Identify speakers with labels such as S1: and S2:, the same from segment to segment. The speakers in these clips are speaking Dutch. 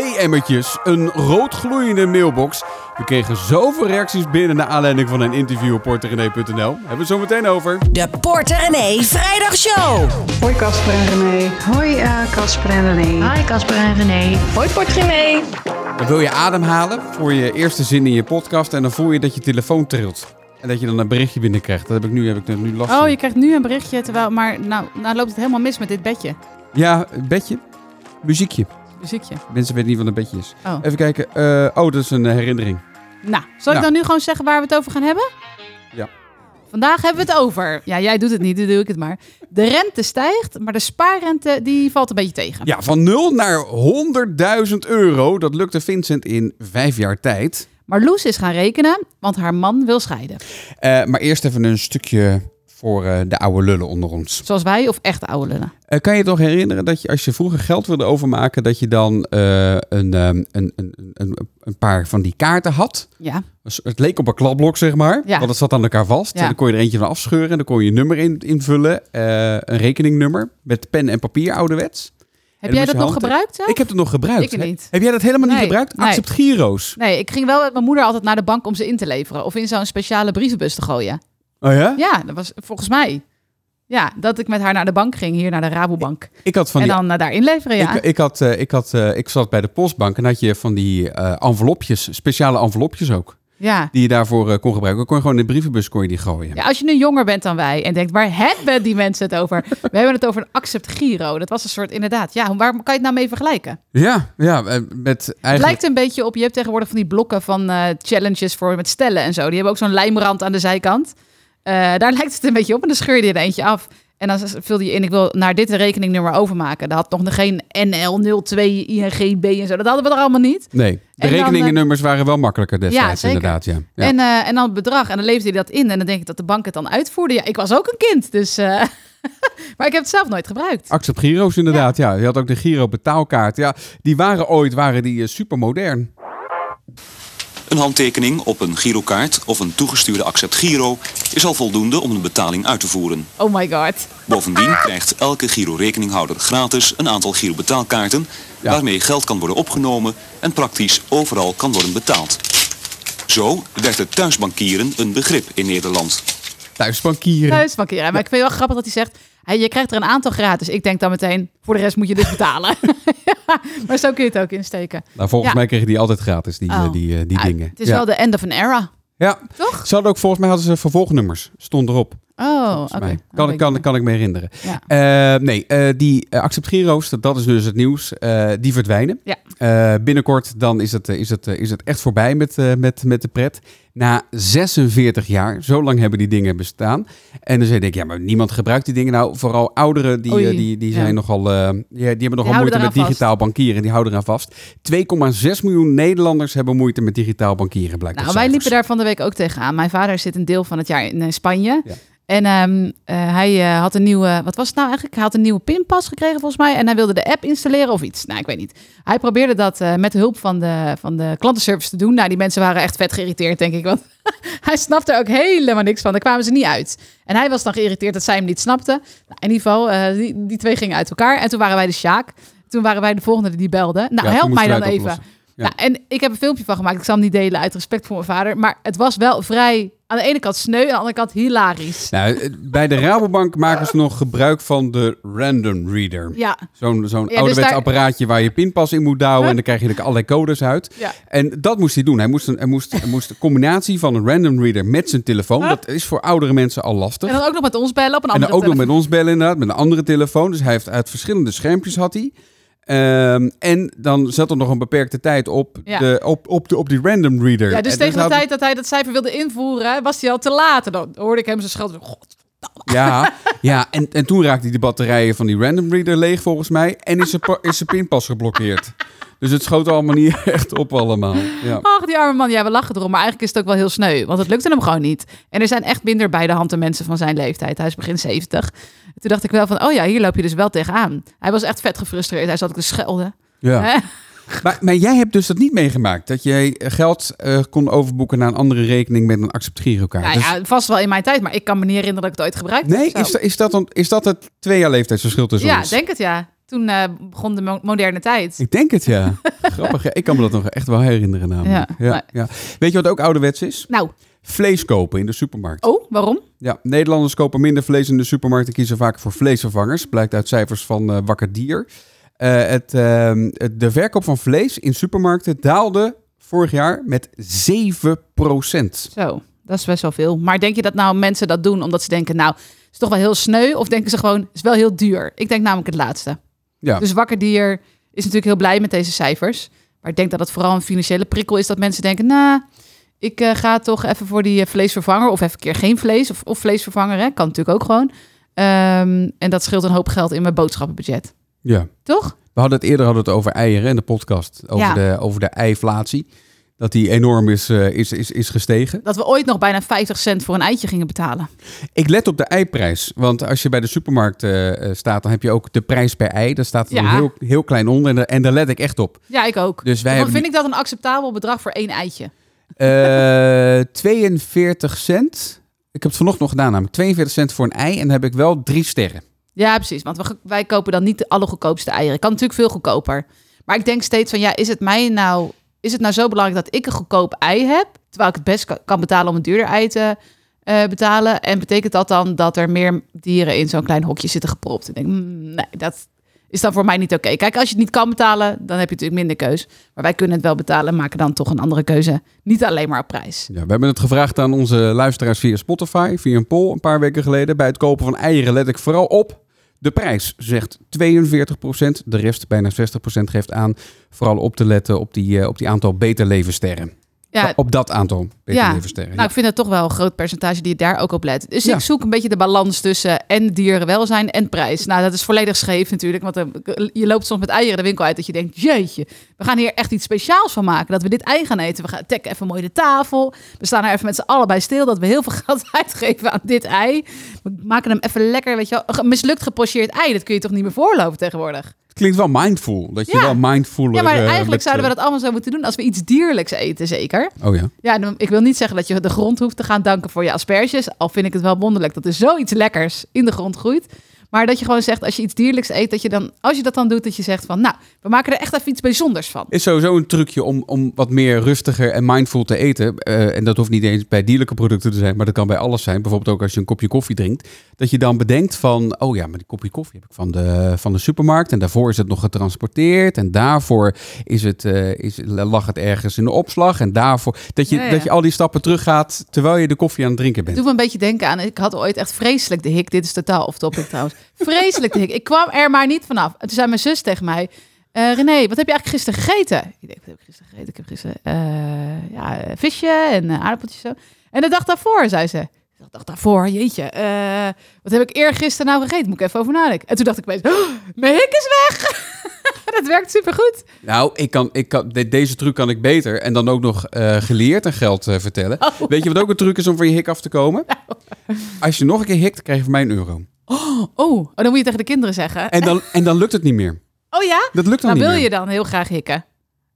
S1: DM'tjes, een roodgloeiende mailbox. We kregen zoveel reacties binnen naar aanleiding van een interview op porterené.nl. Hebben we het zo meteen over.
S2: De Porter René Vrijdagshow.
S3: Hoi Casper en René. Hoi eh, Casper en René.
S4: Hi Casper en René. Hoi Portrimé.
S1: Dan wil je ademhalen voor je eerste zin in je podcast en dan voel je dat je telefoon trilt. En dat je dan een berichtje binnenkrijgt. Dat heb ik nu, heb ik er nu last van.
S5: Oh, je krijgt nu een berichtje, terwijl... Maar nou, nou loopt het helemaal mis met dit bedje.
S1: Ja, bedje. Muziekje.
S5: Muziekje.
S1: Mensen weten niet wat een bedje is.
S5: Oh.
S1: Even kijken. Eh, oh, dat is een herinnering.
S5: Nou, zal
S1: Nou.
S5: ik dan nu gewoon zeggen waar we het over gaan hebben?
S1: Ja.
S5: Vandaag hebben we het over. Ja, jij doet het niet, dan doe ik het maar. De rente stijgt, maar de spaarrente die valt een beetje tegen.
S1: Ja, van 0 naar 100.000 euro. Dat lukte Vincent in vijf jaar tijd.
S5: Maar Loes is gaan rekenen, want haar man wil scheiden.
S1: Eh, maar eerst even een stukje voor eh, de oude lullen onder ons.
S5: Zoals wij of echt oude lullen.
S1: Eh, kan je je nog herinneren dat je als je vroeger geld wilde overmaken, dat je dan eh, een, ehm, een, een, een, een paar van die kaarten had?
S5: Ja,
S1: Dus Het leek op een kladblok, zeg maar.
S5: Ja.
S1: Want het zat aan elkaar vast.
S5: Ja.
S1: En dan kon je er eentje van afscheuren. En dan kon je je nummer in, invullen. eh, een rekeningnummer. Met pen en papier, ouderwets.
S5: heb
S1: dan
S5: jij
S1: moest
S5: dat
S1: je
S5: nog
S1: hand-
S5: gebruikt? zelf?
S1: Ik heb het nog gebruikt.
S5: Ik
S1: hè?
S5: niet.
S1: Heb jij dat helemaal niet
S5: Nee,
S1: gebruikt?
S5: nee.
S1: Accept gyro's.
S5: Nee, ik ging wel met mijn moeder altijd naar de bank om ze in te leveren. Of in zo'n speciale brievenbus te gooien.
S1: Oh ja?
S5: Ja, dat was volgens mij. Ja, dat ik met haar naar de bank ging, hier naar de Rabobank.
S1: Ik had van
S5: en
S1: die...
S5: dan eh, daar inleveren, ja.
S1: Ik, ik, had, eh, ik, had, eh, ik zat bij de postbank en had je van die eh, envelopjes, speciale envelopjes ook,
S5: ja.
S1: die je daarvoor eh, kon gebruiken. Kon je gewoon in de brievenbus kon je die gooien.
S5: Ja, als je nu jonger bent dan wij en denkt, waar hebben die mensen het over? We hebben het over een accept giro. Dat was een soort, inderdaad. Ja, waar kan je het nou mee vergelijken?
S1: Ja, ja, eh, met
S5: Het
S1: eigenlijk...
S5: lijkt een beetje op, je hebt tegenwoordig van die blokken van eh, challenges voor met stellen en zo. Die hebben ook zo'n lijmrand aan de zijkant. Eh, daar lijkt het een beetje op en dan scheur je er eentje af. En dan vulde je in, ik wil naar dit een rekeningnummer overmaken. Daar had nog geen NL02, INGB en zo. Dat hadden we er allemaal niet.
S1: Nee, de
S5: En dan, eh,
S1: rekeningennummers waren wel makkelijker
S5: Ja,
S1: destijds,
S5: zeker.
S1: inderdaad. Ja. Ja.
S5: En, eh, en dan het bedrag. En dan leefde hij dat in. En dan denk ik dat de bank het dan uitvoerde. Ja, ik was ook een kind, dus... eh, maar ik heb het zelf nooit gebruikt.
S1: Accept Giro's inderdaad, ja. Je had ook de Giro betaalkaart. Ja, die waren ooit waren die, eh, super modern.
S6: Een handtekening op een girokaart of een toegestuurde accept giro is al voldoende om een betaling uit te voeren.
S5: Oh my god.
S6: Bovendien krijgt elke giro-rekeninghouder gratis een aantal giro-betaalkaarten
S1: Ja.
S6: waarmee geld kan worden opgenomen en praktisch overal kan worden betaald. Zo werd het thuisbankieren een begrip in Nederland.
S1: Thuisbankieren.
S5: Thuis van Kira. Maar ik vind het wel grappig dat hij zegt... Hey, je krijgt er een aantal gratis. Ik denk dan meteen, voor de rest moet je dus betalen. Ja, maar zo kun je het ook insteken.
S1: Nou, volgens
S5: Ja.
S1: mij kregen die altijd gratis, die, eh,
S5: Oh.
S1: die, eh, die
S5: Ah,
S1: dingen.
S5: Het is
S1: ja.
S5: wel de end of an era,
S1: ja.
S5: toch?
S1: Ze hadden ook, volgens mij hadden ze vervolgnummers. Stond erop.
S5: Oh, oké.
S1: volgens mij.
S5: Dat
S1: Kan,
S5: weet
S1: ik-
S5: ik
S1: kan,
S5: niet.
S1: kan ik me herinneren.
S5: Ja.
S1: Eh, nee, eh, die eh, Accept Giro's, dat, dat is dus het nieuws, eh, die verdwijnen.
S5: Ja.
S1: Eh, binnenkort dan is het, eh, is, het, eh, is het echt voorbij met, eh, met, met de pret. Na 46 jaar, zo lang hebben die dingen bestaan. En dan zei ik, ja, maar niemand gebruikt die dingen. Nou, vooral ouderen, die,
S5: Oei,
S1: eh, die, die, zijn
S5: ja.
S1: nogal, eh, ja, die hebben nogal
S5: houden
S1: moeite
S5: eraan
S1: met digitaal bankieren. Die houden eraan vast. 2,6 miljoen Nederlanders hebben moeite met digitaal bankieren, blijkbaar.
S5: Nou, wij liepen daar van de week ook tegenaan. Mijn vader zit een deel van het jaar in eh, Spanje.
S1: Ja.
S5: En ehm, eh, hij eh, had een nieuwe, wat was het nou eigenlijk? Hij had een nieuwe pinpas gekregen volgens mij. En hij wilde de app installeren of iets. Nou, ik weet niet. Hij probeerde dat eh, met de hulp van de, van de klantenservice te doen. Nou, die mensen waren echt vet geïrriteerd, denk ik. Want hij snapte er ook helemaal niks van. Daar kwamen ze niet uit. En hij was dan geïrriteerd dat zij hem niet snapte. Nou, in ieder geval, eh, die, die twee gingen uit elkaar. En toen waren wij de Sjaak. Toen waren wij de volgende die belde. Nou,
S1: Ja, toen
S5: help mij
S1: moesten wij
S5: dan
S1: het
S5: even.
S1: oplossen. Ja.
S5: Nou, en ik heb een filmpje van gemaakt. Ik zal hem niet delen uit respect voor mijn vader. Maar het was wel vrij aan de ene kant sneu, aan de andere kant hilarisch.
S1: Nou, eh, bij de Rabobank maken ze nog gebruik van de Random Reader.
S5: Ja,
S1: Zo'n zo'n
S5: dus
S1: ouderwets
S5: daar-
S1: apparaatje waar je pinpas in moet douwen.
S5: Huh?
S1: En dan krijg je er allerlei codes uit.
S5: Ja.
S1: En dat moest hij doen. Hij moest, een, hij, moest, hij moest een combinatie van een random reader met zijn telefoon. Dat is voor oudere mensen al lastig.
S5: en dan ook nog met ons bellen op een
S1: En
S5: andere
S1: dan ook nog
S5: telefoon.
S1: met ons bellen inderdaad. Met een andere telefoon. Dus hij heeft uit verschillende schermpjes had hij. Ehm, en dan zat er nog een beperkte tijd op,
S5: Ja.
S1: de, op, op, de, op die random reader.
S5: Ja, dus
S1: En
S5: tegen de
S1: had-
S5: tijd dat hij dat cijfer wilde invoeren, was hij al te laat. En dan hoorde ik hem zijn schelden. God,
S1: Ja, ja en, en toen raakte hij de batterijen van die random reader leeg volgens mij. En is zijn, pa- is zijn pinpas geblokkeerd. Dus het schoot allemaal niet echt op allemaal. Ja.
S5: ach, die arme man. Ja, we lachen erom. Maar eigenlijk is het ook wel heel sneu, want het lukte hem gewoon niet. En er zijn echt minder bij de hand de mensen van zijn leeftijd. Hij is begin 70. Toen dacht ik wel van, oh ja, hier loop je dus wel tegenaan. Hij was echt vet gefrustreerd. Hij zat ook te schelden.
S1: Ja.
S5: Hè?
S1: Maar, maar jij hebt dus dat niet meegemaakt. Dat jij geld eh, kon overboeken naar een andere rekening met een acceptgirokaart.
S5: Nou ja, vast wel in mijn tijd, maar ik kan me niet herinneren dat ik het ooit gebruikt
S1: Dus, nee,
S5: heb. of zo.
S1: is, da- is, dat dan, is dat het twee jaar leeftijdsverschil tussen
S5: Ja,
S1: ons?
S5: denk het ja. Toen eh, begon de mo- moderne tijd.
S1: Ik denk het, ja. Grappig. ja. Ik kan me dat nog echt wel herinneren namelijk.
S5: Ja,
S1: Ja, ja,
S5: maar-
S1: Weet je wat ook ouderwets is?
S5: Nou,
S1: Vlees kopen in de supermarkt.
S5: oh, waarom?
S1: Ja, Nederlanders kopen minder vlees in de supermarkt en kiezen vaak voor vleesvervangers. Blijkt uit cijfers van eh, Wakker Dier. Eh, het, ehm, het- de verkoop van vlees in supermarkten daalde vorig jaar met 7%.
S5: Zo, dat is best wel veel. Maar denk je dat nou mensen dat doen omdat ze denken, nou, is toch wel heel sneu? Of denken ze gewoon, is wel heel duur? Ik denk namelijk het laatste.
S1: Ja.
S5: Dus Wakker Dier is natuurlijk heel blij met deze cijfers. Maar ik denk dat het vooral een financiële prikkel is dat mensen denken, nou, ik eh, ga toch even voor die eh, vleesvervanger. Of even een keer geen vlees. Of, of vleesvervanger, hè? kan natuurlijk ook gewoon. Ehm, en dat scheelt een hoop geld in mijn boodschappenbudget.
S1: Ja.
S5: Toch?
S1: We hadden het eerder hadden we het over eieren in de podcast. Over,
S5: Ja.
S1: de, over de eiflatie. Dat die enorm is, eh, is, is, is gestegen.
S5: Dat we ooit nog bijna 50 cent voor een eitje gingen betalen.
S1: Ik let op de eiprijs. Want als je bij de supermarkt eh, eh, staat, dan heb je ook de prijs per ei. Daar staat er
S5: Ja.
S1: dan heel, heel klein onder. En, daar- en daar let ik echt op.
S5: Ja, ik ook.
S1: Dus wij
S5: Dan
S1: hebben
S5: vind ik dat een acceptabel bedrag voor één eitje.
S1: Eh, 42 cent. Ik heb het vanochtend nog gedaan namelijk. 42 cent voor een ei. En dan heb ik wel drie sterren.
S5: Ja, precies. Want we- wij kopen dan niet de allergoedkoopste eieren. Kan natuurlijk veel goedkoper. Maar ik denk steeds van, ja, is het mij nou, is het nou zo belangrijk dat ik een goedkoop ei heb? Terwijl ik het best ka- kan betalen om een duurder ei te eh, betalen. En betekent dat dan dat er meer dieren in zo'n klein hokje zitten gepropt? En ik denk, mm, nee, dat is dan voor mij niet oké. Kijk, als je het niet kan betalen, dan heb je natuurlijk minder keus. Maar wij kunnen het wel betalen en maken dan toch een andere keuze. Niet alleen maar op prijs.
S1: Ja, we hebben het gevraagd aan onze luisteraars via Spotify, via een poll een paar weken geleden. Bij het kopen van eieren let ik vooral op de prijs, zegt 42%. De rest, bijna 60%, geeft aan vooral op te letten op die, eh, op die aantal beter levensterren.
S5: Ja,
S1: Op dat aantal beter
S5: Ja,
S1: levensterren.
S5: Nou, ik vind dat toch wel een groot percentage die daar ook op let. Dus
S1: Ja.
S5: ik zoek een beetje de balans tussen en dierenwelzijn en prijs. Nou, dat is volledig scheef natuurlijk. Want eh, je loopt soms met eieren de winkel uit dat je denkt... jeetje, we gaan hier echt iets speciaals van maken. Dat we dit ei gaan eten. We gaan tekken even mooi de tafel. We staan er even met z'n allen bij stil... dat we heel veel geld uitgeven aan dit ei. We maken hem even lekker, weet je wel. Een Mislukt gepocheerd ei, dat kun je toch niet meer voorlopen tegenwoordig?
S1: Het klinkt wel mindful, dat je
S5: Ja.
S1: wel eh, mindful...
S5: Ja, maar eigenlijk zouden we dat allemaal zo moeten doen... als we iets dierlijks eten, zeker.
S1: Oh ja.
S5: Ja, en ik wil niet zeggen dat je de grond hoeft te gaan danken voor je asperges. Al vind ik het wel wonderlijk dat er zoiets lekkers in de grond groeit. Maar dat je gewoon zegt, als je iets dierlijks eet, dat je dan, als je dat dan doet, dat je zegt van, nou, we maken er echt even iets bijzonders van.
S1: Is sowieso een trucje om, om wat meer rustiger en mindful te eten. Eh, en dat hoeft niet eens bij dierlijke producten te zijn, maar dat kan bij alles zijn. Bijvoorbeeld ook als je een kopje koffie drinkt. Dat je dan bedenkt van, oh ja, maar die kopje koffie heb ik van de, van de supermarkt. En daarvoor is het nog getransporteerd. En daarvoor is het, eh, is, lag het ergens in de opslag. En daarvoor, dat je,
S5: Ja, ja.
S1: dat je al die stappen teruggaat terwijl je de koffie aan het drinken bent.
S5: Doe me een beetje denken aan, ik had ooit echt vreselijk de hik. Dit is totaal off topic trouwens. Vreselijk de hik. Ik kwam er maar niet vanaf. En toen zei mijn zus tegen mij, eh, René, wat heb je eigenlijk gisteren gegeten? Ik denk, wat heb ik gisteren gegeten? Ik heb gisteren eh, ja, eh, visje en eh, aardappeltjes zo. En de dag daarvoor, zei ze. De dag daarvoor, jeetje. eh, wat heb ik eergisteren nou gegeten? Moet ik even over nadenken. En toen dacht ik opeens, "Oh, mijn hik is weg. dat werkt supergoed.
S1: Nou, ik kan, ik kan, de- deze truc kan ik beter. En dan ook nog eh, geleerd en geld eh, vertellen.
S5: Oh.
S1: Weet je wat ook een truc is om van je hik af te komen?
S5: Nou.
S1: Als je nog een keer hikt, krijg je van mij een euro.
S5: Oh, oh, dan moet je tegen de kinderen zeggen.
S1: En dan, en dan lukt het niet meer.
S5: Oh ja?
S1: Dat lukt dan
S5: Nou
S1: niet
S5: wil
S1: meer.
S5: je dan heel graag hikken.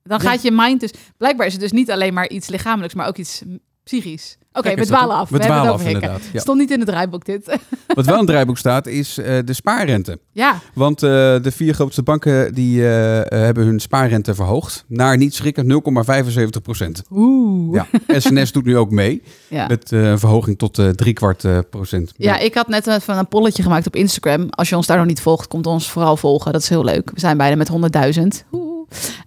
S5: Dan gaat je mind dus... Blijkbaar is het dus niet alleen maar iets lichamelijks, maar ook iets mm, psychisch. Oké,
S1: Kijk
S5: we
S1: eens, dat-
S5: dwalen af.
S1: We dwalen
S5: hebben
S1: af,
S5: het over hikken.
S1: inderdaad. Ja.
S5: Stond niet in het draaiboek dit.
S1: Wat wel in het draaiboek staat, is eh, de spaarrente.
S5: ja,
S1: Want eh, de vier grootste banken die, eh, eh, hebben hun spaarrente verhoogd. Naar niet schrikken 0,75 procent.
S5: oeh. Ja.
S1: Ja. SNS doet nu ook mee.
S5: Ja.
S1: Met eh, een verhoging tot eh drie kwart eh, procent.
S5: ik had net een- van een polletje gemaakt op Instagram. Als je ons daar nog niet volgt, komt ons vooral volgen. Dat is heel leuk. We zijn bijna met 100.000. Oeh.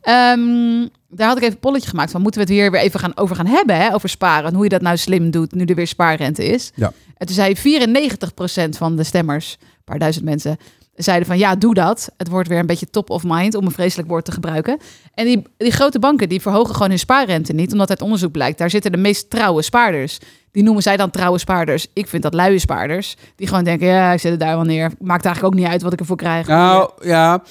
S5: Ehm, daar had ik even een polletje gemaakt van moeten we het hier weer even gaan, over gaan hebben. Hè? Over sparen. En hoe je dat nou slim doet nu er weer spaarrente is.
S1: Ja.
S5: En toen zei 94% van de stemmers, een paar duizend mensen, zeiden van ja, doe dat. Het wordt weer een beetje top of mind, om een vreselijk woord te gebruiken. En die, die grote banken die verhogen gewoon hun spaarrente niet, omdat uit onderzoek blijkt, daar zitten de meest trouwe spaarders. Die noemen zij dan trouwe spaarders. Ik vind dat luie spaarders. Die gewoon denken, ja, ik zet het daar wel neer. Maakt eigenlijk ook niet uit wat ik ervoor krijg.
S1: Nou ja,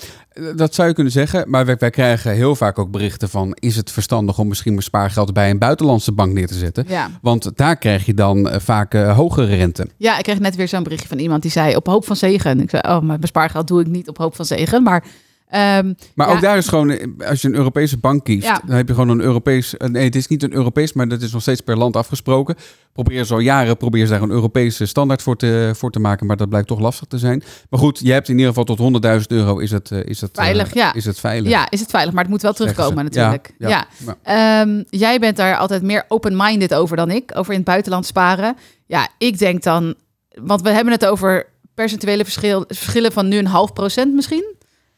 S1: dat zou je kunnen zeggen. Maar wij, wij krijgen heel vaak ook berichten van... is het verstandig om misschien mijn spaargeld bij een buitenlandse bank neer te zetten?
S5: ja.
S1: Want daar krijg je dan eh, vaak eh, hogere rente.
S5: Ja, ik kreeg net weer zo'n berichtje van iemand die zei op hoop van zegen. Ik zei, oh, maar mijn spaargeld doe ik niet op hoop van zegen. Maar Ehm,
S1: Maar
S5: ja,
S1: ook daar is gewoon, eh, als je een Europese bank kiest,
S5: Ja.
S1: dan heb je gewoon een Europees. eh, Nee, het is niet een Europees, maar dat is nog steeds per land afgesproken. Proberen ze al jaren, proberen ze daar een Europese standaard voor te, voor te maken, maar dat blijkt toch lastig te zijn. Maar goed, je hebt in ieder geval tot 100.000 euro is het, eh, is het eh,
S5: Veilig, ja.
S1: Is het veilig.
S5: Ja, is het veilig, maar het moet wel
S1: zeggen ze.
S5: terugkomen natuurlijk.
S1: Ja,
S5: Ja,
S1: ja, ja.
S5: Ehm, jij bent daar altijd meer open-minded over dan ik, over in het buitenland sparen. Ja, ik denk dan, want we hebben het over percentuele verschil, verschillen van nu een half procent misschien.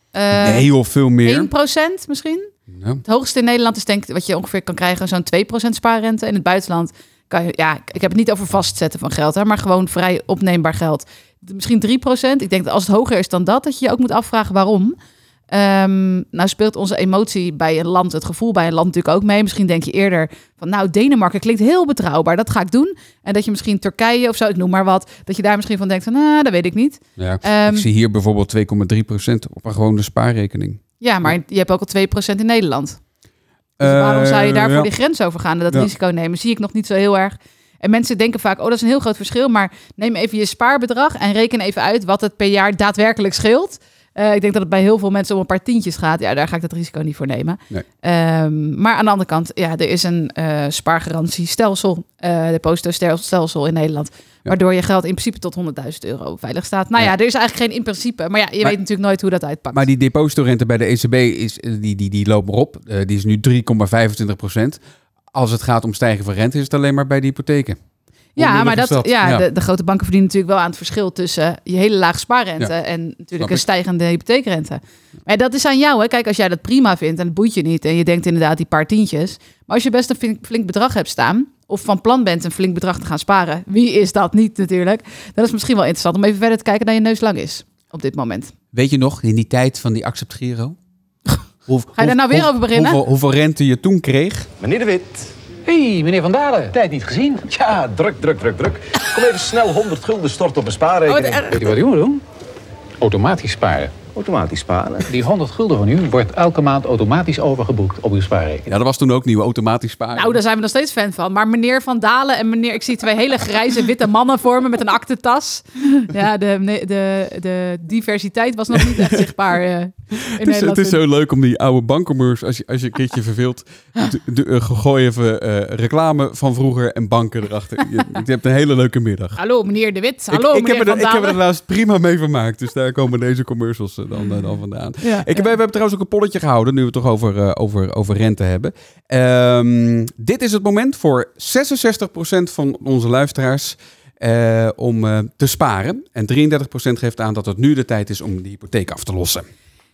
S5: Eh,
S1: Nee, heel veel meer.
S5: 1% misschien.
S1: Nou,
S5: Het hoogste in Nederland is denk ik wat je ongeveer kan krijgen, zo'n 2% spaarrente. In het buitenland kan je, ja, ik heb het niet over vastzetten van geld, hè, maar gewoon vrij opneembaar geld. Misschien 3%. Ik denk dat als het hoger is dan dat, dat je je ook moet afvragen waarom. Ehm, nou speelt onze emotie bij een land, het gevoel bij een land natuurlijk ook mee. Misschien denk je eerder van, nou Denemarken klinkt heel betrouwbaar, dat ga ik doen. En dat je misschien Turkije of zo, ik noem maar wat, dat je daar misschien van denkt van, nou, dat weet ik niet.
S1: ja.
S5: ehm,
S1: ik zie hier bijvoorbeeld 2,3% op een gewone spaarrekening.
S5: Ja, maar je hebt ook al 2% in Nederland. Dus waarom zou je
S1: Eh,
S5: daarvoor
S1: ja.
S5: die grens over gaan en dat
S1: Ja.
S5: risico nemen? Zie ik nog niet zo heel erg. En mensen denken vaak, oh, dat is een heel groot verschil. Maar neem even je spaarbedrag en reken even uit wat het per jaar daadwerkelijk scheelt. Eh, ik denk dat het bij heel veel mensen om een paar tientjes gaat. Ja, daar ga ik dat risico niet voor nemen.
S1: Nee.
S5: Ehm, maar aan de andere kant, ja, er is een eh spaargarantiestelsel, eh depositostelsel in Nederland. Waardoor je geld in principe tot 100.000 euro veilig staat. Nou ja,
S1: Ja.
S5: er is eigenlijk geen in principe. Maar ja, je
S1: Maar-
S5: weet natuurlijk nooit hoe dat uitpakt.
S1: Maar die depositorente bij de ECB is, eh, die, die, die loopt maar op. Eh, die is nu 3,25 Als het gaat om stijgen van rente, is het alleen maar bij de hypotheken.
S5: Ja,
S1: Onmiddellijk
S5: maar
S1: is
S5: dat, Ja,
S1: Ja.
S5: De, de grote banken verdienen natuurlijk wel aan het verschil tussen je hele lage spaarrente
S1: Ja,
S5: en
S1: snap
S5: natuurlijk
S1: ik.
S5: een stijgende hypotheekrente. Maar dat is aan jou. Hè. Kijk, als jij dat prima vindt en het boeit je niet en je denkt inderdaad die paar tientjes. Maar als je best een flink, flink bedrag hebt staan of van plan bent een flink bedrag te gaan sparen, wie is dat niet natuurlijk? Dat is misschien wel interessant om even verder te kijken naar je neus lang is op dit moment.
S1: Weet je nog, in die tijd van die Accept Giro? Hoe-
S5: daar
S1: hoe-
S5: nou weer
S1: hoe-
S5: over beginnen?
S1: Hoeveel, hoeveel rente je toen kreeg?
S7: Meneer De Wit. Hé, hey, meneer Van Dalen. Tijd niet gezien. Ja, druk, druk, druk, druk. Kom even snel 100 gulden storten op een spaarrekening.
S8: Oh, Weet u wat u moet doen? Automatisch sparen.
S7: Automatisch sparen.
S8: Die 100 gulden van u wordt elke maand automatisch overgeboekt op uw spaarrekening.
S1: Ja, dat was toen ook nieuw, automatisch sparen.
S5: Nou, daar zijn we nog steeds fan van. Maar meneer Van Dalen en meneer... Ik zie twee hele grijze witte mannen voor me met een aktentas. Ja, de, nee, de, de diversiteit was nog niet echt zichtbaar eh, in
S1: het, is,
S5: Nederland.
S1: het is zo leuk om die oude bankenmeurs, als je, als je een keertje verveelt, de, de, eh, gooi even eh, reclame van vroeger en banken erachter. Je, je hebt een hele leuke middag.
S5: Hallo, meneer De Wit. Ah, Hallo,
S1: ik, ik,
S5: meneer
S1: heb er,
S5: Van
S1: ik heb er
S5: Dalen.
S1: laatst prima mee vermaakt. Dus daar komen deze commercials eh, dan, eh, dan vandaan.
S5: Hmm. Ja,
S1: ik, heb- We hebben trouwens ook een polletje gehouden, nu we het toch over, eh, over, over rente hebben. Ehm, dit is het moment voor 66% van onze luisteraars eh, om eh, te sparen. En 33% geeft aan dat het nu de tijd is om de hypotheek af te lossen.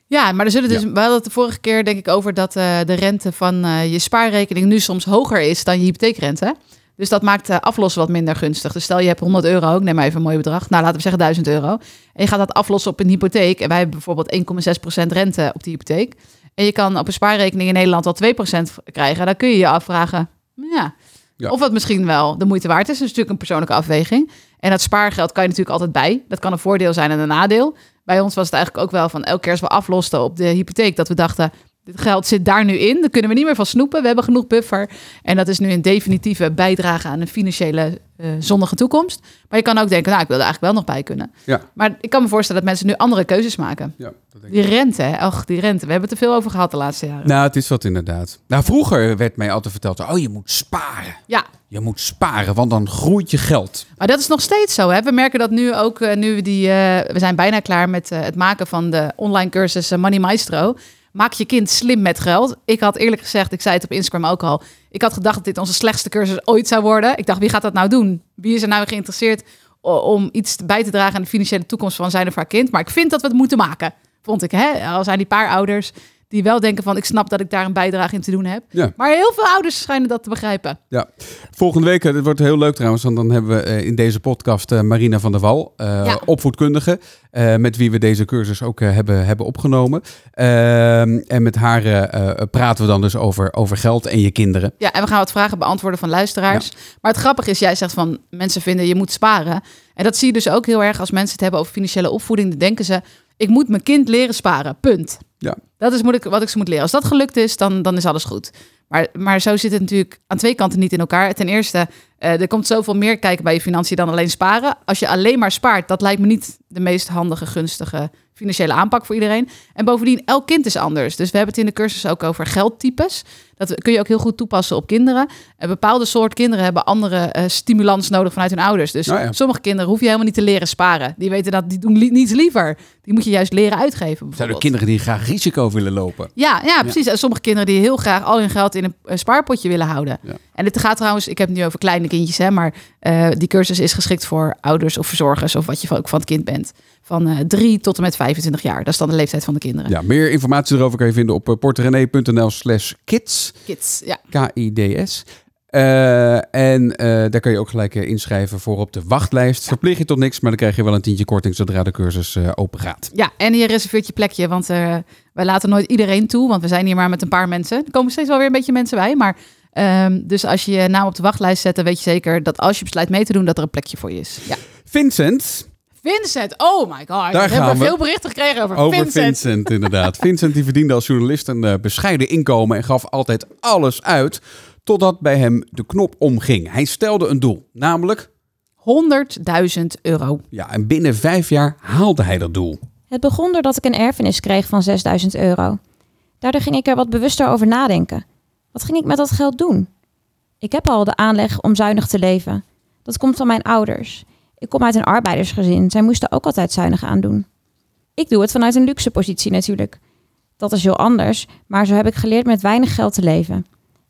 S5: Ja, maar er zullen dus,
S1: Ja.
S5: we hadden het de vorige keer denk ik over dat eh, de rente van eh, je spaarrekening nu soms hoger is dan je hypotheekrente. Dus dat maakt eh, aflossen wat minder gunstig. Dus stel je hebt 100 euro, ik neem maar even een mooi bedrag. Nou, laten we zeggen 1000 euro. En je gaat dat aflossen op een hypotheek. En wij hebben bijvoorbeeld 1,6% rente op die hypotheek. En je kan op een spaarrekening in Nederland al 2% krijgen. Dan kun je je afvragen, ja,
S1: Ja.
S5: of dat misschien wel de moeite waard is. Dat is natuurlijk een persoonlijke afweging. En dat spaargeld kan je natuurlijk altijd bij. Dat kan een voordeel zijn en een nadeel. Bij ons was het eigenlijk ook wel van elke keer als we aflosten op de hypotheek... dat we dachten, dit geld zit daar nu in. Daar kunnen we niet meer van snoepen. We hebben genoeg buffer. En dat is nu een definitieve bijdrage aan een financiële eh, zonnige toekomst. Maar je kan ook denken, nou, ik wil er eigenlijk wel nog bij kunnen.
S1: Ja.
S5: Maar ik kan me voorstellen dat mensen nu andere keuzes maken.
S1: Ja, dat denk
S5: Die rente, hè? Ach, die rente. We hebben het er veel over gehad de laatste jaren.
S1: Nou, het is wat inderdaad. Nou, vroeger werd mij altijd verteld, oh, je moet sparen.
S5: Ja,
S1: Je moet sparen, want dan groeit je geld.
S5: Maar dat is nog steeds zo. Hè? We merken dat nu ook, eh, nu we die, eh, we zijn bijna klaar met eh, het maken van de online cursus eh, Money Maestro. Maak je kind slim met geld. Ik had eerlijk gezegd, ik zei het op Instagram ook al. Ik had gedacht dat dit onze slechtste cursus ooit zou worden. Ik dacht, wie gaat dat nou doen? Wie is er nou geïnteresseerd o- om iets bij te dragen aan de financiële toekomst van zijn of haar kind? Maar ik vind dat we het moeten maken, vond ik. Hè? Al zijn die paar ouders die wel denken van, ik snap dat ik daar een bijdrage in te doen heb.
S1: Ja.
S5: Maar heel veel ouders schijnen dat te begrijpen.
S1: Ja, volgende week, eh, het wordt heel leuk trouwens, want dan hebben we eh, in deze podcast eh, Marina van der Wal, eh,
S5: Ja.
S1: opvoedkundige, eh, met wie we deze cursus ook eh, hebben, hebben opgenomen. Ehm, en met haar eh, eh, praten we dan dus over, over geld en je kinderen.
S5: Ja, en we gaan wat vragen beantwoorden van luisteraars. Maar het grappige is, jij zegt van mensen vinden je moet sparen. En dat zie je dus ook heel erg als mensen het hebben over financiële opvoeding. Dan denken ze, ik moet mijn kind leren sparen, punt.
S1: Ja.
S5: Dat is moet ik, wat ik ze moet leren. Als dat gelukt is, dan, dan is alles goed. Maar, maar zo zit het natuurlijk aan twee kanten niet in elkaar. Ten eerste Eh, er komt zoveel meer kijken bij je financiën dan alleen sparen. Als je alleen maar spaart, dat lijkt me niet de meest handige, gunstige financiële aanpak voor iedereen. En bovendien, elk kind is anders. Dus we hebben het in de cursus ook over geldtypes. Dat kun je ook heel goed toepassen op kinderen. Een bepaalde soort kinderen hebben andere eh, stimulans nodig vanuit hun ouders. Dus
S1: Nou ja.
S5: sommige kinderen hoef je helemaal niet te leren sparen. Die weten dat, die doen li- niets liever. Die moet je juist leren uitgeven.
S1: Zijn er
S5: bijvoorbeeld.
S1: kinderen die graag risico willen lopen?
S5: Ja, ja, precies. En sommige kinderen die heel graag al hun geld in een eh, spaarpotje willen houden.
S1: Ja.
S5: En het gaat trouwens, ik heb het nu over kleine kindjes, hè, maar eh, die cursus is geschikt voor ouders of verzorgers of wat je van- ook van het kind bent. Van eh 3 tot en met 25 jaar. Dat is dan de leeftijd van de kinderen.
S1: Ja, meer informatie erover kan je vinden op eh, porterenee.nl slash kids.
S5: Kids, ja.
S1: K-I-D-S. Eh, en eh, daar kan je ook gelijk eh, inschrijven voor op de wachtlijst. Verplicht je tot niks, maar dan krijg je wel een tientje korting zodra de cursus eh, open gaat.
S5: Ja, en je reserveert je plekje, want eh, wij laten nooit iedereen toe, want we zijn hier maar met een paar mensen. Er komen steeds wel weer een beetje mensen bij, maar ehm, dus als je je naam op de wachtlijst zet, dan weet je zeker dat als je besluit mee te doen, dat er een plekje voor je is. Ja.
S1: Vincent,
S5: Vincent, oh my god, we
S1: gaan
S5: hebben
S1: we.
S5: veel berichten gekregen over,
S1: over Vincent,
S5: Vincent.
S1: inderdaad. Vincent die verdiende als journalist een eh, bescheiden inkomen en gaf altijd alles uit. Totdat bij hem de knop omging. Hij stelde een doel, namelijk...
S5: 100.000 euro.
S1: Ja, en binnen vijf jaar haalde hij dat doel.
S9: Het begon doordat ik een erfenis kreeg van 6000 euro. Daardoor ging ik er wat bewuster over nadenken. Wat ging ik met dat geld doen? Ik heb al de aanleg om zuinig te leven. Dat komt van mijn ouders. Ik kom uit een arbeidersgezin. Zij moesten ook altijd zuinig aandoen. Ik doe het vanuit een luxe positie natuurlijk. Dat is heel anders, maar zo heb ik geleerd met weinig geld te leven.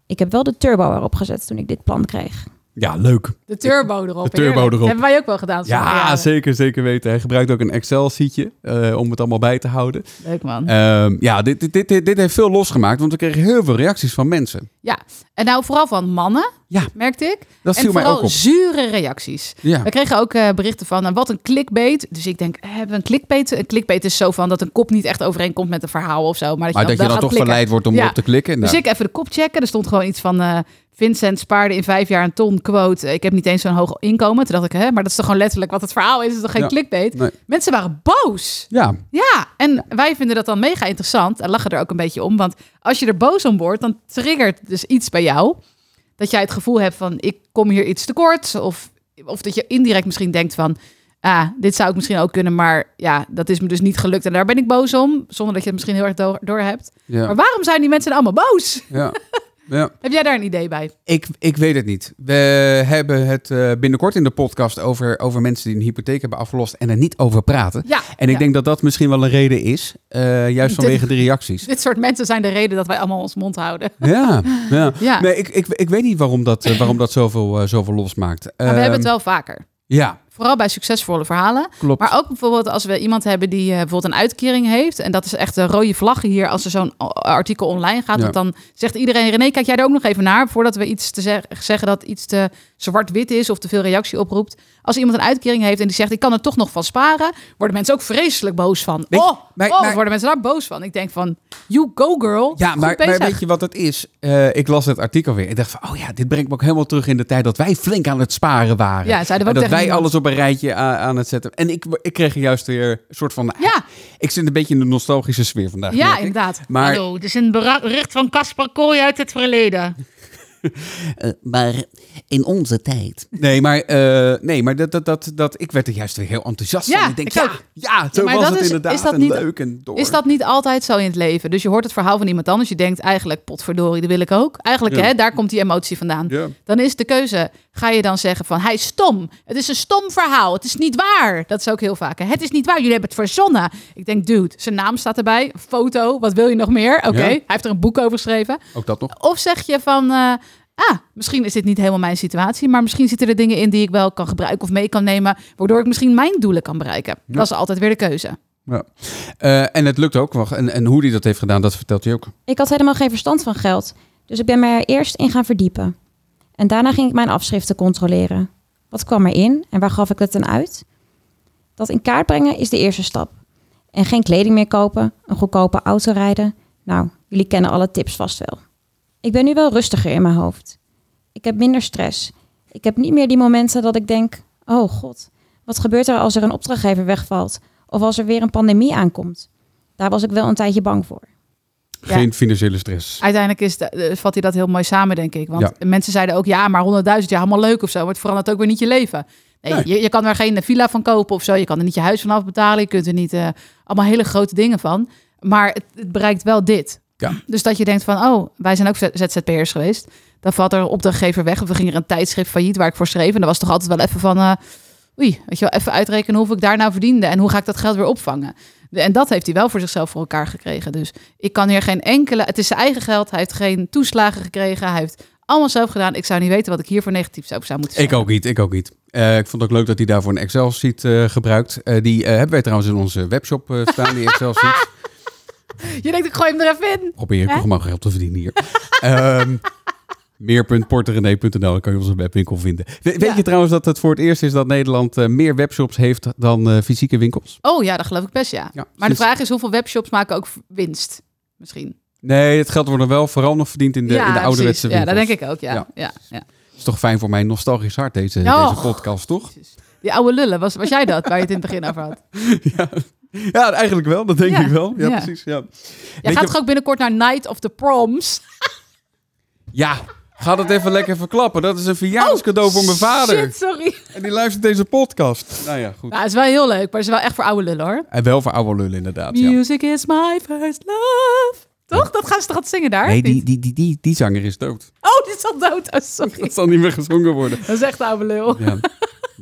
S9: Ik heb wel de turbo erop gezet toen ik dit plan kreeg.
S1: Ja, leuk.
S5: De turbo erop.
S1: De turbo
S5: heerlijk.
S1: erop.
S5: Hebben wij ook wel gedaan. sommige
S1: Ja,
S5: jaren.
S1: zeker, zeker weten. Hij gebruikt ook een Excel-sheetje eh, om het allemaal bij te houden.
S5: Leuk man.
S1: Ehm, ja, dit, dit, dit, dit, dit heeft veel losgemaakt, want we kregen heel veel reacties van mensen.
S5: Ja, en nou vooral van mannen,
S1: Ja.
S5: merkte ik.
S1: Dat
S5: en
S1: viel mij
S5: vooral
S1: ook op.
S5: zure reacties.
S1: Ja.
S5: We kregen ook eh, berichten van, nou, wat een clickbait. Dus ik denk, eh, hebben we een clickbait? Een clickbait is zo van dat een kop niet echt overeenkomt met een verhaal of zo. Maar dat
S1: Maar
S5: je
S1: dat
S5: dan,
S1: je
S5: wel
S1: dan
S5: gaat
S1: toch
S5: nou, klikken.
S1: verleid wordt om
S5: Ja.
S1: erop te klikken.
S5: Dus
S1: Nou,
S5: ik even de kop checken. Er stond gewoon iets van eh, Vincent spaarde in vijf jaar een ton, quote. eh, Ik heb niet eens zo'n hoog inkomen. Toen dacht ik, hè, maar dat is toch gewoon letterlijk wat het verhaal is. Het is toch geen
S1: Ja.
S5: clickbait?
S1: Nee.
S5: Mensen waren boos.
S1: Ja,
S5: Ja, en wij vinden dat dan mega interessant en lachen er ook een beetje om. Want als je er boos om wordt, dan triggert dus iets bij jou. Dat jij het gevoel hebt van, ik kom hier iets tekort. Of, of dat je indirect misschien denkt van, ah, dit zou ik misschien ook kunnen. Maar ja, dat is me dus niet gelukt en daar ben ik boos om. Zonder dat je het misschien heel erg door, hebt.
S1: ja,
S5: Maar waarom zijn die mensen dan allemaal boos?
S1: ja. ja.
S5: Heb jij daar een idee bij?
S1: Ik, ik weet het niet. We hebben het eh, binnenkort in de podcast over, over mensen die een hypotheek hebben afgelost en er niet over praten.
S5: Ja,
S1: En ik
S5: ja.
S1: denk dat dat misschien wel een reden is, eh, juist
S5: Dit-
S1: vanwege de reacties.
S5: Dit soort mensen zijn de reden dat wij allemaal ons mond houden.
S1: Ja, ja.
S5: Ja.
S1: Nee, ik, ik, ik weet niet waarom dat, eh, waarom dat zoveel, eh, zoveel losmaakt. Ehm,
S5: Maar we hebben het wel vaker.
S1: Ja,
S5: Vooral bij succesvolle verhalen.
S1: klopt.
S5: Maar ook bijvoorbeeld als we iemand hebben die eh, bijvoorbeeld een uitkering heeft. En dat is echt de rode vlag hier als er zo'n a- artikel online gaat.
S1: Ja.
S5: Want dan zegt iedereen, René, kijk jij er ook nog even naar. Voordat we iets te zeg- zeggen dat iets te zwart-wit is of te veel reactie oproept. Als iemand een uitkering heeft en die zegt, ik kan er toch nog van sparen. Worden mensen ook vreselijk boos van.
S1: Weet-
S5: oh,
S1: maar-
S5: oh,
S1: maar-
S5: worden mensen daar boos van. Ik denk van, you go girl.
S1: Ja,
S5: Goed
S1: maar, maar
S5: bezig.
S1: weet je wat het is? Eh, ik las het artikel weer. Ik dacht van, oh ja, dit brengt me ook helemaal terug in de tijd dat wij flink aan het sparen waren.
S5: Ja, zeiden we
S1: en dat
S5: ook
S1: wij
S5: tegen iemand.
S1: alles op een rijtje a- aan, het zetten. En ik, ik kreeg er juist weer een soort van...
S5: Ja.
S1: Ik zit een beetje in de nostalgische sfeer vandaag. merk
S5: Ja,
S1: ik.
S5: inderdaad.
S1: Maar,
S10: Hallo, dit is een bericht van Casper Kooi uit het verleden.
S1: eh,
S10: maar in onze tijd.
S1: nee, maar, eh, nee, maar dat, dat, dat, dat, ik werd er juist weer heel enthousiast
S5: Ja,
S1: van. Ik denk,
S5: ik
S1: ja,
S5: ook.
S1: ja, zo
S5: maar
S1: was
S5: dat
S1: het
S5: is-
S1: inderdaad.
S5: is dat
S1: en
S5: niet-
S1: leuk en door.
S5: Is dat niet altijd zo in het leven? Dus je hoort het verhaal van iemand anders. Je denkt eigenlijk, potverdorie, dat wil ik ook. Eigenlijk,
S1: Ja.
S5: hè, daar komt die emotie vandaan.
S1: Ja.
S5: Dan is de keuze, ga je dan zeggen van, hij is stom. Het is een stom verhaal. Het is niet waar. Dat is ook heel vaak. hè. Het is niet waar. Jullie hebben het verzonnen. Ik denk, dude, zijn naam staat erbij. Foto, wat wil je nog meer? Oké,
S1: Ja.
S5: hij heeft er een boek over geschreven.
S1: Ook dat nog?
S5: Of zeg je van, eh, ah, misschien is dit niet helemaal mijn situatie, maar misschien zitten er dingen in die ik wel kan gebruiken of mee kan nemen, waardoor ik misschien mijn doelen kan bereiken. Dat is altijd weer de keuze.
S1: Ja. Eh, en het lukt ook. Wacht, en, en hoe hij dat heeft gedaan, dat vertelt hij ook.
S9: Ik had helemaal geen verstand van geld, dus ik ben me er eerst in gaan verdiepen. En daarna ging ik mijn afschriften controleren. Wat kwam erin en waar gaf ik het aan uit? Dat in kaart brengen is de eerste stap. En geen kleding meer kopen, een goedkope auto rijden. Nou, jullie kennen alle tips vast wel. Ik ben nu wel rustiger in mijn hoofd. Ik heb minder stress. Ik heb niet meer die momenten dat ik denk: oh god, wat gebeurt er als er een opdrachtgever wegvalt? Of als er weer een pandemie aankomt? Daar was ik wel een tijdje bang voor.
S5: Ja.
S1: Geen financiële stress.
S5: Uiteindelijk is de- eh, vat hij dat heel mooi samen, denk ik. Want mensen zeiden ook, ja, maar 100.000, ja, helemaal leuk of zo. Maar het verandert ook weer niet je leven. Nee,
S1: Nee.
S5: Je, je kan er geen villa van kopen of zo. Je kan er niet je huis van afbetalen. Je kunt er niet eh, allemaal hele grote dingen van. Maar het, het bereikt wel dit.
S1: Ja.
S5: Dus dat je denkt van, oh, wij zijn ook Z- ZZP'ers geweest. Dan valt er een opdrachtgever weg. Of we gingen er een tijdschrift failliet waar ik voor schreef. En dat was toch altijd wel even van, eh, oei, weet je wel, even uitrekenen hoeveel ik daar nou verdiende. En hoe ga ik dat geld weer opvangen? De- En dat heeft hij wel voor zichzelf voor elkaar gekregen. Dus ik kan hier geen enkele. Het is zijn eigen geld. Hij heeft geen toeslagen gekregen. Hij heeft allemaal zelf gedaan. Ik zou niet weten wat ik hier voor negatief zou, zou moeten
S1: Ik ook niet, ik ook niet. Eh, ik vond het ook leuk dat hij daarvoor een Excel-sheet eh, gebruikt. Eh, die eh, hebben wij trouwens in onze webshop eh, staan, die Excel-sheet.
S5: zeggen. Je denkt, ik gooi hem er even in.
S1: Probeer ik toch gewoon geld te verdienen hier. Ehm meer.porterene.nl, dan kan je onze webwinkel vinden. We- weet
S5: Ja.
S1: je trouwens dat het voor het eerst is dat Nederland eh, meer webshops heeft dan eh, fysieke winkels?
S5: Oh ja, dat geloof ik best, ja.
S1: Ja,
S5: maar de
S1: dus-
S5: vraag is hoeveel webshops maken ook winst? Misschien.
S1: Nee, het geld wordt er wel vooral nog verdiend in de,
S5: ja,
S1: in de
S5: precies.
S1: ouderwetse
S5: Ja,
S1: winkels.
S5: dat denk ik ook, ja. ja.
S1: Ja.
S5: ja,
S1: Het is toch fijn voor mijn nostalgisch hart, deze,
S5: Oh.
S1: deze podcast, toch?
S5: Die oude lullen, was, was jij dat waar je het in het begin over had?
S1: Ja. ja, eigenlijk wel, dat denk
S5: Ja.
S1: ik wel. Ja,
S5: Ja.
S1: precies. Ja.
S5: Jij
S1: Weet
S5: gaat
S1: je-
S5: toch ook binnenkort naar Night of the Proms?
S1: Ja, ga dat even lekker verklappen. Dat is een verjaardagscadeau voor mijn vader.
S5: Oh, Shit, sorry.
S1: En die luistert deze podcast. Nou ja, goed.
S5: Nou, het is wel heel leuk, maar het is wel echt voor oude lullen, hoor.
S1: En wel voor oude lullen inderdaad. Ja.
S5: Music is my first love. Toch? Dat gaan ze toch aan het zingen daar?
S1: Nee,
S5: of niet?
S1: die, die, die, die, die zanger is dood.
S5: Oh, dit is al dood. Oh, sorry.
S1: Dat zal niet meer gezongen worden.
S5: Dat is echt oude lul.
S1: Ja.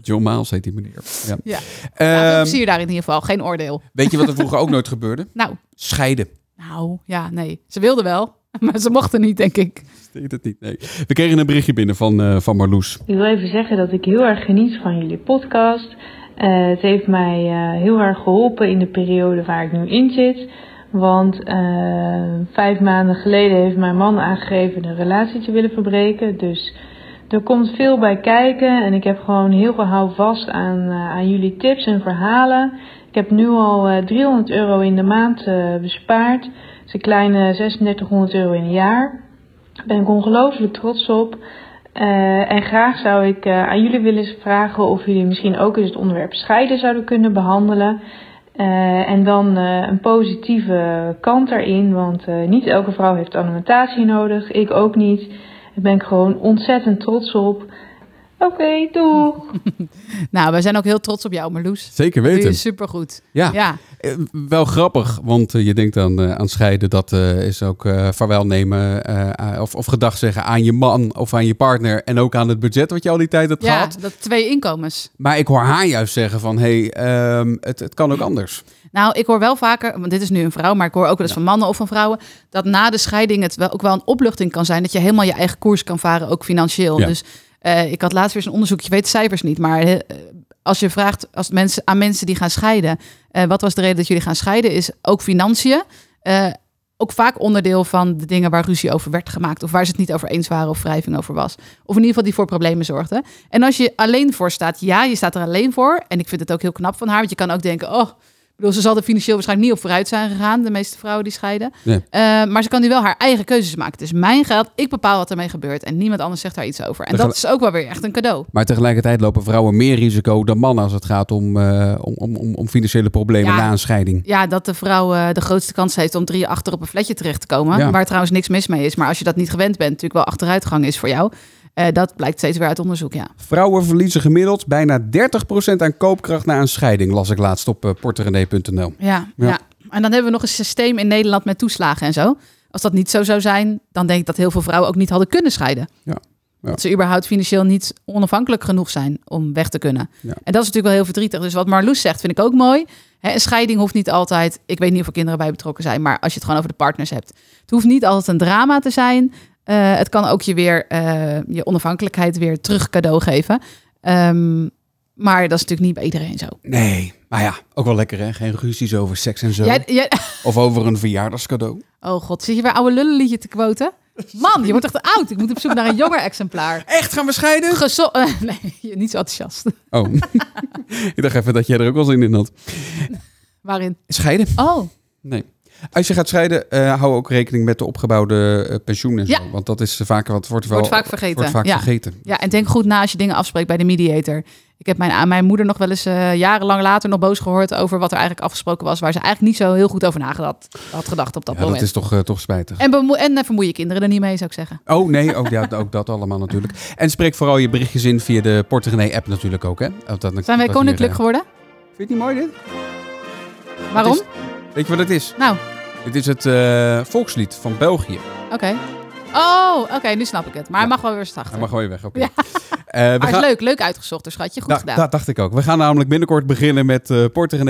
S1: John Miles heet die meneer. Ja.
S5: Ja.
S1: Ehm,
S5: Nou, veel plezier daar in ieder geval. Geen oordeel.
S1: weet je wat er vroeger ook nooit gebeurde?
S5: Nou,
S1: Scheiden.
S5: nou, ja, nee. Ze wilden wel, maar ze mochten niet, denk ik.
S1: Deed het niet, nee. We kregen een berichtje binnen van, eh, van Marloes.
S11: Ik wil even zeggen dat ik heel erg geniet van jullie podcast. Eh, het heeft mij eh, heel erg geholpen in de periode waar ik nu in zit. Want eh, vijf maanden geleden heeft mijn man aangegeven een relatie te willen verbreken. Dus er komt veel bij kijken. En ik heb gewoon heel veel houvast aan, eh, aan jullie tips en verhalen. Ik heb nu al eh, 300 euro in de maand eh, bespaard. Dat is een kleine 3600 euro in een jaar. Daar ben ik ongelooflijk trots op. Eh, en graag zou ik eh, aan jullie willen vragen of jullie misschien ook eens het onderwerp scheiden zouden kunnen behandelen. Eh, en dan eh, een positieve kant daarin, want eh, niet elke vrouw heeft alimentatie nodig. Ik ook niet. Daar ben ik gewoon ontzettend trots op. Oké, doeg!
S5: Nou, wij zijn ook heel trots op jou, Marloes.
S1: Zeker
S5: Doe je
S1: weten.
S5: supergoed.
S1: Ja.
S5: Ja.
S1: Eh, Wel grappig, want eh, je denkt aan, eh, aan scheiden. Dat eh, is ook eh vaarwel nemen eh, of, of gedag zeggen aan je man of aan je partner. En ook aan het budget wat je al die tijd hebt
S5: Ja,
S1: gehad.
S5: dat twee inkomens.
S1: Maar ik hoor haar juist zeggen van, hé, hey, ehm, het, het kan ook anders.
S5: Nou, ik hoor wel vaker, want dit is nu een vrouw, maar ik hoor ook wel eens van mannen of van vrouwen, dat na de scheiding het wel, ook wel een opluchting kan zijn dat je helemaal je eigen koers kan varen, ook financieel.
S1: Ja.
S5: Dus eh, ik had laatst weer zo'n onderzoek, je weet de cijfers niet, maar eh, als je vraagt als mensen, aan mensen die gaan scheiden, eh, wat was de reden dat jullie gaan scheiden, is ook financiën. eh, ook vaak onderdeel van de dingen waar ruzie over werd gemaakt. Of waar ze het niet over eens waren of wrijving over was. Of in ieder geval die voor problemen zorgden. En als je alleen voor staat, ja, je staat er alleen voor. En ik vind het ook heel knap van haar. Want je kan ook denken, oh, ik bedoel, ze zal er financieel waarschijnlijk niet op vooruit zijn gegaan. De meeste vrouwen die scheiden.
S1: Nee.
S5: Eh, maar ze kan nu wel haar eigen keuzes maken. Het is mijn geld. Ik bepaal wat ermee gebeurt. En niemand anders zegt daar iets over. En
S1: Dan
S5: dat is ook wel weer echt een cadeau.
S1: Maar tegelijkertijd lopen vrouwen meer risico dan mannen als het gaat om, eh, om, om, om, om financiële problemen
S5: Ja.
S1: na een scheiding.
S5: Ja, dat de vrouw eh, de grootste kans heeft om drie achter op een flatje terecht te komen.
S1: Ja.
S5: Waar trouwens niks mis mee is. Maar als je dat niet gewend bent, natuurlijk wel achteruitgang is voor jou. Eh, dat blijkt steeds weer uit onderzoek, ja.
S1: Vrouwen verliezen gemiddeld bijna 30% aan koopkracht na een scheiding, las ik laatst op eh, porterenee.nl.
S5: Ja, ja.
S1: Ja.
S5: En dan hebben we nog een systeem in Nederland met toeslagen en zo. Als dat niet zo zou zijn, dan denk ik dat heel veel vrouwen ook niet hadden kunnen scheiden.
S1: Ja, ja.
S5: Dat ze überhaupt financieel niet onafhankelijk genoeg zijn om weg te kunnen.
S1: Ja.
S5: En dat is natuurlijk wel heel verdrietig. Dus wat Marloes zegt, vind ik ook mooi. Hè, een scheiding hoeft niet altijd... Ik weet niet of er kinderen bij betrokken zijn, maar als je het gewoon over de partners hebt. Het hoeft niet altijd een drama te zijn. Eh, het kan ook je weer eh, je onafhankelijkheid weer terug cadeau geven. Ehm, maar dat is natuurlijk niet bij iedereen zo.
S1: Nee, maar ja, ook wel lekker hè? Geen ruzies over seks en zo.
S5: Jij, jij,
S1: Of over een verjaardagscadeau.
S5: Oh god, zit je weer oude lullenliedje te quoten? Man, je wordt echt oud. Ik moet op zoek naar een jonger exemplaar.
S1: Echt, gaan we scheiden?
S5: Gezo eh, nee, je- niet zo enthousiast.
S1: Oh, ik dacht even dat jij er ook wel zin in had.
S5: Waarin?
S1: Scheiden?
S5: Oh,
S1: Nee. Als je gaat scheiden, eh, hou ook rekening met de opgebouwde eh, pensioen en
S5: Ja.
S1: zo. Want dat is vaak wat wordt wel
S5: Wordt vaak vergeten,
S1: Wordt vaak
S5: ja.
S1: vergeten.
S5: ja, en denk goed na als je dingen afspreekt bij de mediator. Ik Ik heb mijn, mijn moeder nog wel eens eh, jarenlang later nog boos gehoord over wat er eigenlijk afgesproken was, waar ze eigenlijk niet zo heel goed over nagedacht had gedacht op dat
S1: Ja, dat
S5: moment.
S1: is toch, eh, toch spijtig.
S5: En, bemo- en eh, vermoei je kinderen er niet mee, zou ik zeggen.
S1: Oh nee, ook, ja, ook dat allemaal natuurlijk. En spreek vooral je berichtjes in via de Portemonnee app natuurlijk ook. Hè? Dat, dat-
S5: Zijn wij
S1: dat hier,
S5: koninklijk
S1: eh,
S5: geworden?
S1: Vind je het niet mooi dit?
S5: Waarom?
S1: Dat is- weet je wat het is?
S5: Nou,
S1: Dit is het eh, volkslied van België.
S5: oké. Oh, oké, nu snap ik het. Maar hij mag wel weer zachter.
S1: Hij mag weer weg, oké.
S5: Ja.
S1: Eh, we
S5: Maar
S1: gaan-
S5: is leuk, leuk uitgezocht, dus schatje. Goed
S1: Da-
S5: gedaan.
S1: Dat dacht ik ook. We gaan namelijk binnenkort beginnen met eh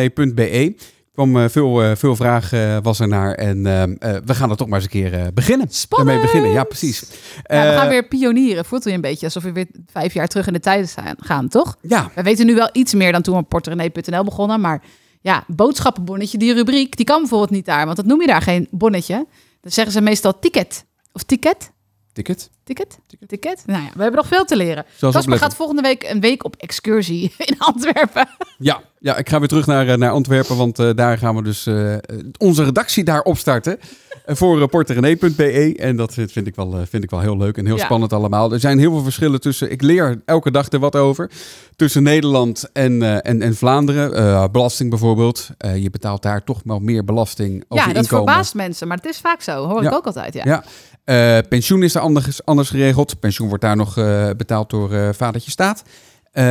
S1: porterenee.be. Er kwam eh, veel, eh, veel vraag eh, was er naar en eh, eh, we gaan er toch maar eens een keer eh, beginnen.
S5: Spannend!
S1: Daarmee beginnen, ja precies.
S5: Ja, we
S1: Eh,
S5: gaan weer pionieren. Voelt je een beetje alsof we weer vijf jaar terug in de tijd zijn- gaan, toch?
S1: Ja.
S5: We weten nu wel iets meer dan toen we op portrenee.nl begonnen. Maar ja, boodschappenbonnetje, die rubriek, die kan bijvoorbeeld niet daar. Want dat noem je daar geen bonnetje. Dan zeggen ze meestal ticket. Of ticket?
S1: Ticket?
S5: Ticket? Ticket? Nou ja, we hebben nog veel te leren.
S1: Zoals
S5: Casper
S1: opletten.
S5: gaat volgende week een week op excursie in Antwerpen.
S1: Ja, ja, ik ga weer terug naar, eh, naar Antwerpen, want eh, daar gaan we dus eh, eh, onze redactie daar opstarten. Eh, Voor eh, porterenee.be. En dat vind vind ik, wel, eh, vind ik wel heel leuk en heel
S5: Ja.
S1: spannend allemaal. Er zijn heel veel verschillen tussen. Ik leer elke dag er wat over. Tussen Nederland en, eh, en, en Vlaanderen. Eh, belasting bijvoorbeeld. Eh, je betaalt daar toch wel meer belasting over
S5: ja,
S1: je
S5: dat
S1: inkomen.
S5: verbaast mensen. Maar het is vaak zo. Hoor ik
S1: Ja.
S5: ook altijd. Ja.
S1: Ja. Eh, pensioen is er anders, anders geregeld. Pensioen wordt daar nog eh, betaald door eh vadertje staat. Eh,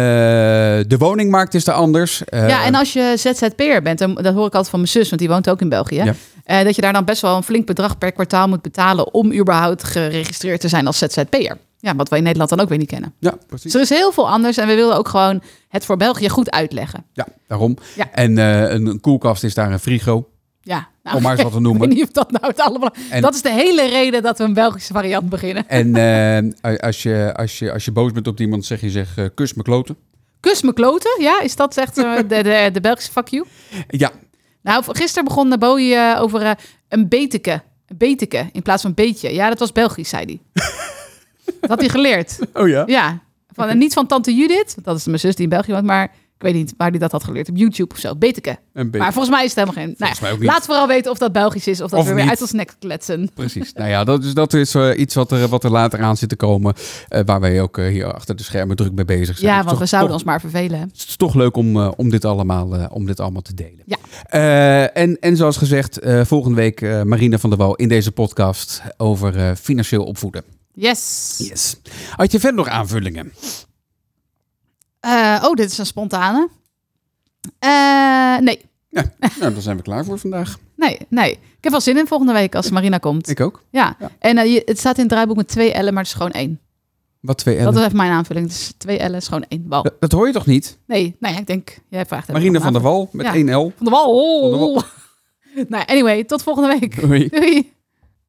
S1: de woningmarkt is er anders. Eh,
S5: ja, en als je ZZP'er bent, dan, dat hoor ik altijd van mijn zus, want die woont ook in België.
S1: Ja.
S5: eh, dat je daar dan best wel een flink bedrag per kwartaal moet betalen om überhaupt geregistreerd te zijn als ZZP'er. Ja, wat wij in Nederland dan ook weer niet kennen.
S1: ja, precies.
S5: Dus er is heel veel anders en we willen ook gewoon het voor België goed uitleggen.
S1: Ja, daarom.
S5: Ja.
S1: En eh, een, een koelkast is daar een frigo.
S5: Ja, Nou,
S1: Om maar eens wat te
S5: ik
S1: noemen.
S5: weet niet of dat nou het allemaal...
S1: En-
S5: Dat is de hele reden dat we een Belgische variant beginnen.
S1: En eh, als, je, als, je, als je boos bent op iemand, zeg je zeg, eh, kus me kloten.
S5: Kus me kloten, ja? Is dat echt eh, de, de, de Belgische fuck you?
S1: Ja,
S5: Nou, gisteren begon Bowie eh, over eh, een beteke. Een beteke in plaats van beetje. Ja, dat was Belgisch, zei hij. dat had hij geleerd.
S1: oh ja.
S5: Ja. Van, en niet van tante Judith, want dat is mijn zus die in België woont, maar ik weet niet waar hij dat had geleerd. Op YouTube of zo. Beteke.
S1: Een beetje.
S5: Maar volgens mij is het helemaal geen... Nou,
S1: Volgens
S5: ja,
S1: mij ook niet.
S5: laat vooral weten of dat Belgisch is of dat
S1: Of
S5: we weer
S1: niet.
S5: uit ons nek kletsen.
S1: Precies. Nou ja, dat is, dat is eh, iets wat er, wat er later aan zit te komen. eh, waar wij ook eh, hier achter de schermen druk mee bezig zijn.
S5: ja,
S1: Het
S5: want
S1: is
S5: we
S1: toch-
S5: zouden
S1: toch-
S5: ons maar vervelen. hè.
S1: Het is toch leuk om, eh, om, dit, allemaal, eh, om dit allemaal te delen.
S5: Ja.
S1: Eh, en, en zoals gezegd, eh, volgende week eh, Marina van der Wal in deze podcast over eh, financieel opvoeden.
S5: Yes.
S1: Yes. Had je verder nog aanvullingen?
S5: Eh, oh, dit is een spontane. Eh, nee.
S1: Ja, nou, dan zijn we klaar voor vandaag.
S5: Nee, nee. Ik heb wel zin in volgende week als Marina komt.
S1: Ik ook.
S5: Ja,
S1: Ja.
S5: en eh, je- het staat in het draaiboek met twee L'en, maar het is gewoon één.
S1: Wat twee L'en?
S5: Dat is even mijn aanvulling. Dus twee L'en is gewoon één bal.
S1: Dat, dat hoor je toch niet?
S5: Nee, nou ja, ik denk, jij vraagt het
S1: Marina
S5: nog
S1: van der
S5: maar.
S1: Wal met
S5: Ja.
S1: 1L.
S5: Van de wal.
S1: Van de
S5: nou, anyway, tot volgende week.
S1: Doei.
S5: Doei.